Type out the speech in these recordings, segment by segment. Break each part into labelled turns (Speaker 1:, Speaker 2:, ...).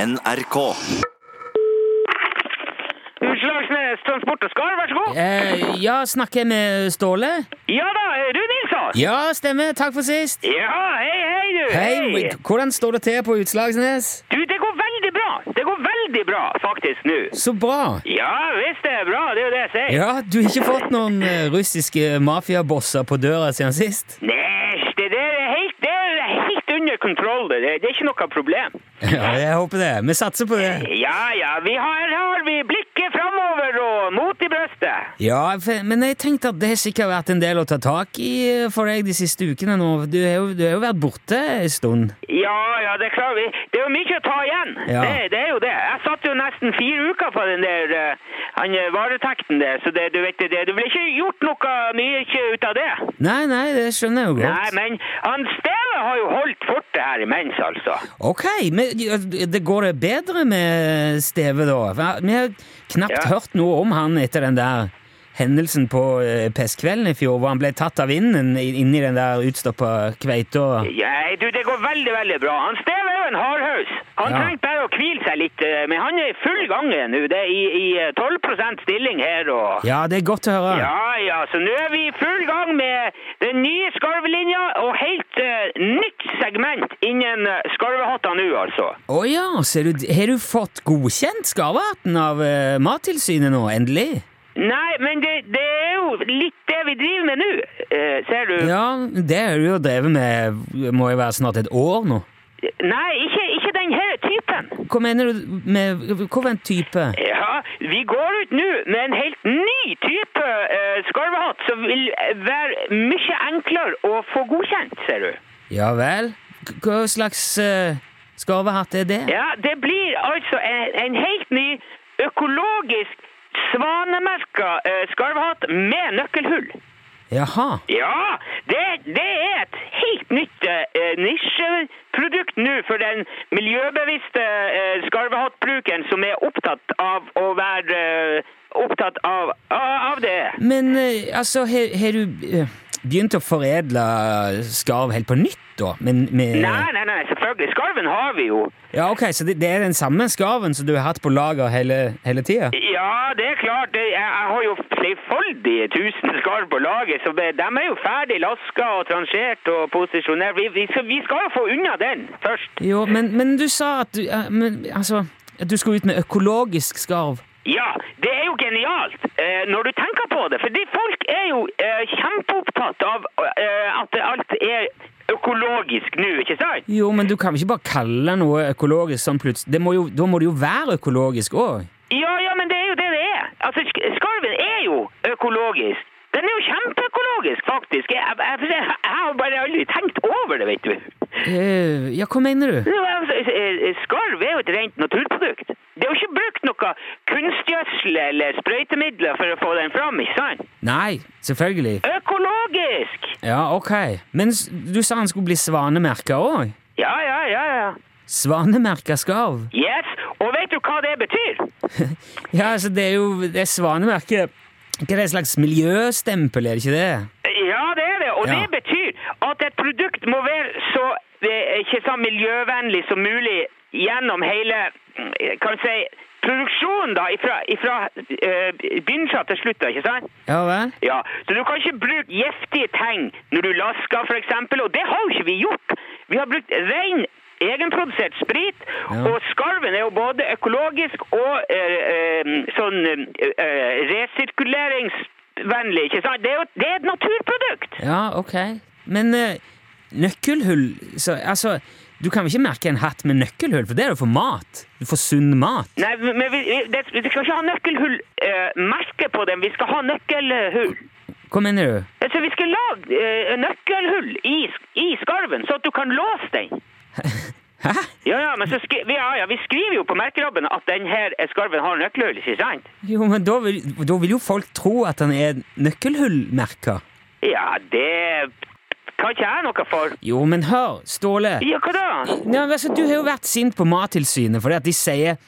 Speaker 1: NRK.
Speaker 2: Utslagsnes Transport og Skar, vær så god.
Speaker 3: Eh, ja, snakker jeg med Ståle?
Speaker 2: Ja da, er du Nilsson?
Speaker 3: Ja, stemmer. Takk for sist.
Speaker 2: Ja, hei, hei, du.
Speaker 3: Hei, hvordan står det til på Utslagsnes?
Speaker 2: Du, det går veldig bra. Det går veldig bra, faktisk, nå.
Speaker 3: Så bra.
Speaker 2: Ja visst det er bra, det er jo det jeg sier.
Speaker 3: Ja, du har ikke fått noen eh, russiske mafiabosser på døra siden sist?
Speaker 2: Nei, det der er helt, det er helt under kontroll, det der. Det er ikke noe problem.
Speaker 3: Ja, jeg håper det. Vi satser på det.
Speaker 2: Ja, ja, vi har, her har vi blikket framover og mot i brøstet.
Speaker 3: Ja, for- men jeg tenkte at det har sikkert vært en del å ta tak i eh, for deg de siste ukene nå. Du har jo, du har jo vært borte en stund.
Speaker 2: Ja, ja, det klarer vi. Det er jo mye å ta igjen.
Speaker 3: Ja.
Speaker 2: Det, det er jo det. Jeg satt jo nesten fire uker på den der eh, han, eh, varetekten der, så det, du vet det, det ble ikke gjort noe mye ikke ut av det.
Speaker 3: Nei, nei, det skjønner jeg jo
Speaker 2: Nei,
Speaker 3: godt.
Speaker 2: men han Steve har jo holdt fortet her imens, altså.
Speaker 3: Ok, men ja, det går det bedre med Steve da? For Vi har knapt
Speaker 2: Ja.
Speaker 3: hørt noe om han etter den der hendelsen på eh, pestkvelden i fjor, hvor han ble tatt av vinden i- inni den der utstoppa kveita.
Speaker 2: Nei, du, det går veldig, veldig bra. Han Steve er jo en hardhaus. Han
Speaker 3: Ja.
Speaker 2: trengte bare å hvile seg litt, eh, men han er i full gang nå. Det er i, i eh, 12 stilling her og
Speaker 3: Ja, det er godt å høre.
Speaker 2: ja, ja, så nå er vi i full gang med den nye skarvelinja og helt eh, nytt segment innen eh, skarvehatta nå, altså.
Speaker 3: Å ja, ser du, har du fått godkjent skarvarten av eh, Mattilsynet nå, endelig?
Speaker 2: Nei, men det, det er jo litt det vi driver med nå, eh, ser du.
Speaker 3: Ja, det har du jo drevet med, må jo være snart et år nå.
Speaker 2: Nei, ikke, ikke den her typen.
Speaker 3: Hva mener du med, hva for en type?
Speaker 2: Ja, vi går ut nå med en helt ny type eh, skarvehatt som vil eh, være mye enklere å få godkjent, ser du.
Speaker 3: Ja vel, K- hva slags eh, skarvehatt er det?
Speaker 2: Ja, det blir altså en, en helt ny økologisk svanemerka eh, skarvehatt med nøkkelhull.
Speaker 3: Jaha.
Speaker 2: Ja, det, det er et helt nytt eh, nisjeprodukt nå for den miljøbevisste eh, skarvehattbrukeren som er opptatt av å være eh, opptatt av, av, av det.
Speaker 3: Men eh, altså, har har du eh, begynt å foredle skarv helt på nytt, da? Men, med,
Speaker 2: Nei, nei, nei, selvfølgelig. Skarven har vi jo.
Speaker 3: Ja, ok, Så det, det er den samme skarven som du har hatt på lager hele, hele tida?
Speaker 2: Ja, det er klart. det- Jeg, jeg har jo flerfoldige tusen skarv på laget, så det- de er jo ferdig laska og transjert og posisjonert. Vi, vi, skal, vi skal jo få unna den først.
Speaker 3: Jo, men, men du sa at du eh, men, Altså, at du skulle ut med økologisk skarv.
Speaker 2: Ja, det er jo genialt eh, når du tenker på det. Fordi folk er jo eh, kjempeopptatt av eh, at alt er økologisk nå, ikke sant?
Speaker 3: Jo, men du kan vel ikke bare kalle noe økologisk sånn plutselig? Det må jo, da må det jo være økologisk òg?
Speaker 2: Ja, ja, men det er jo det det er. Altså, sk- skarven er jo økologisk. Den er jo kjempeøkologisk, faktisk. Jeg, jeg, jeg, jeg har bare aldri tenkt over det, vet du.
Speaker 3: Eh, ja, hva mener du?
Speaker 2: Jo, altså, eh, Skarv er jo et rent naturprodukt. Det er jo ikke brukt noe kunstgjødsel eller sprøytemidler for å få den fram, ikke sant?
Speaker 3: Nei, selvfølgelig.
Speaker 2: Økologisk!
Speaker 3: Ja, ok. Men s- du sa han skulle bli svanemerka òg?
Speaker 2: Ja, ja, ja, ja.
Speaker 3: Svanemerka skarv?
Speaker 2: Yes, og vet du hva det betyr?
Speaker 3: Ja, altså det er jo det er svanemerket Hva er det slags miljøstempel, er det ikke det?
Speaker 2: Ja, det er det, og
Speaker 3: Ja.
Speaker 2: det betyr at et produkt må være så, eh, ikke så miljøvennlig som mulig gjennom hele, mm, kan vi si, produksjonen da, ifra, ifra eh, begynnelsen til slutt, da, ikke sant?
Speaker 3: Ja vel?
Speaker 2: Ja, så du kan ikke bruke giftige ting når du lasker, for eksempel, og det har jo ikke vi gjort. Vi har brukt ren egenprodusert sprit,
Speaker 3: Ja.
Speaker 2: og skarven er jo både økologisk og eh, eh, sånn eh, eh, resirkuleringsvennlig, ikke sant? Det er jo det er et naturprodukt.
Speaker 3: Ja, ok. Men eh, nøkkelhull så, Altså, du kan vel ikke merke en hatt med nøkkelhull, for det er jo for mat. Du får sunn mat.
Speaker 2: Nei, men vi, vi- det, vi skal ikke ha nøkkelhull eh, merke på dem, vi skal ha nøkkelhull.
Speaker 3: Hva mener du?
Speaker 2: Altså, vi skal lage eh, nøkkelhull i, sk- i skarven, så at du kan låse den.
Speaker 3: Hæ?
Speaker 2: Ja, ja, men så skri vi- ja, ja, vi skriver jo på merkerabben at denne skarven har nøkkelhull, ikke sant?
Speaker 3: Jo, men da vil, da vil jo folk tro at han er nøkkelhullmerka.
Speaker 2: Ja, det kan ikke jeg noe for.
Speaker 3: Jo, men hør, Ståle.
Speaker 2: Ja, hva da?
Speaker 3: Nei, men altså, du har jo vært sint på Mattilsynet fordi at de sier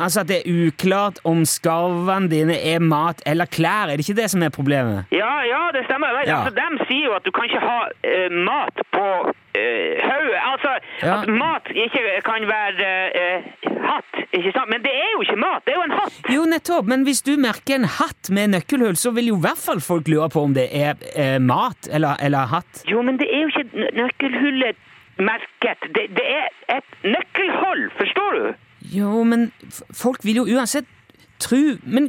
Speaker 3: Altså at det er uklart om skarvene dine er mat eller klær. Er det ikke det som er problemet?
Speaker 2: Ja, ja, det stemmer. Jeg vet.
Speaker 3: Ja.
Speaker 2: Altså, de sier jo at du kan ikke ha eh, mat på eh, hodet. altså,
Speaker 3: Ja.
Speaker 2: at mat ikke kan være eh, hatt, ikke sant? Men det er jo ikke mat, det er jo en hatt.
Speaker 3: Jo, nettopp, men hvis du merker en hatt med nøkkelhull, så vil jo i hvert fall folk lure på om det er eh, mat eller, eller hatt.
Speaker 2: Jo, men det er jo ikke nø- nøkkelhullet merket. Det, det er et nøkkelhold, forstår du?
Speaker 3: Jo, men f- folk vil jo uansett tru Men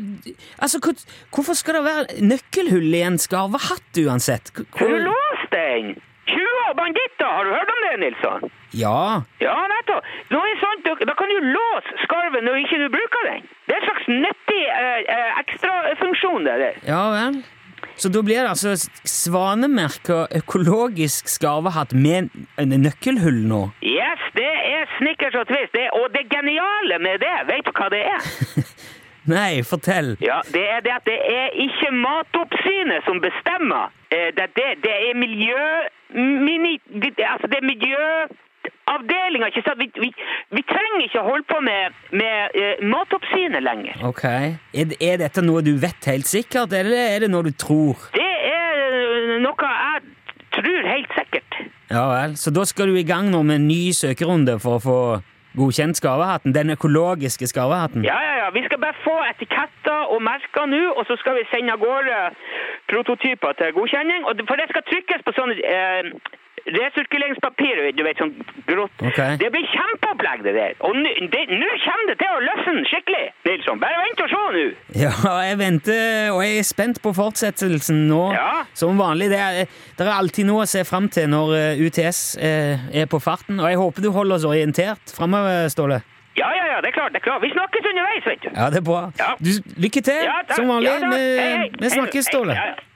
Speaker 3: altså, hvor, hvorfor skal det være nøkkelhull i en skarvehatt uansett? Hvor-
Speaker 2: Har
Speaker 3: hvor-
Speaker 2: du låst den? 20 år banditter, har du hørt om det, Nilsson?
Speaker 3: Ja.
Speaker 2: Ja, nettopp. Nå er det sånn, at du- da kan du låse skarven når ikke du bruker den. Det er en slags nyttig eh, eh, ekstrafunksjon, det der.
Speaker 3: Ja vel. Så da blir det altså svanemerka økologisk skarvehatt med en nøkkelhull nå?
Speaker 2: Yes, det er Snickers og Twist. Det, og det geniale med det, vet du hva det er?
Speaker 3: Nei, fortell.
Speaker 2: Ja, Det er det at det er ikke Matoppsynet som bestemmer. Eh, Det, det, det er miljø... Mini, det, altså, det er miljøavdelinga, ikke sant? Vi, vi, vi trenger ikke å holde på med, med eh, Matoppsynet lenger.
Speaker 3: Ok. Er, det- er dette noe du vet helt sikkert, eller er det noe du tror?
Speaker 2: Det er eh, noe jeg tror helt sikkert.
Speaker 3: Ja vel. Så da skal du i gang nå med en ny søkerunde for å få godkjent skarvehatten? Den økologiske skarvehatten?
Speaker 2: Ja, ja, ja. Vi skal bare få etiketter og merker nå, og så skal vi sende av gårde prototyper til godkjenning. Og det- for det skal trykkes på sånn eh, resirkuleringspapir, du vet, sånn grått.
Speaker 3: Ok.
Speaker 2: Det blir kjempeopplegg, det der. Og nå det- nå kommer det til å løsne skikkelig, Nilsson. Bare vent og se nå.
Speaker 3: Ja, jeg venter, og jeg er spent på fortsettelsen nå.
Speaker 2: Ja.
Speaker 3: Som vanlig. Det er, det er alltid noe å se fram til når eh, UTS eh, er på farten. Og jeg håper du holder oss orientert framover, Ståle.
Speaker 2: Ja, ja, ja, det er klart. det er klart. Vi snakkes underveis, vet du.
Speaker 3: Ja, det er bra.
Speaker 2: Ja.
Speaker 3: Du, lykke til,
Speaker 2: Ja, takk.
Speaker 3: Eh, som vanlig.
Speaker 2: Ja, takk. Hei, hei.
Speaker 3: vi, vi snakkes,
Speaker 2: Hei,
Speaker 3: Ståle.
Speaker 2: hei, ja, ja.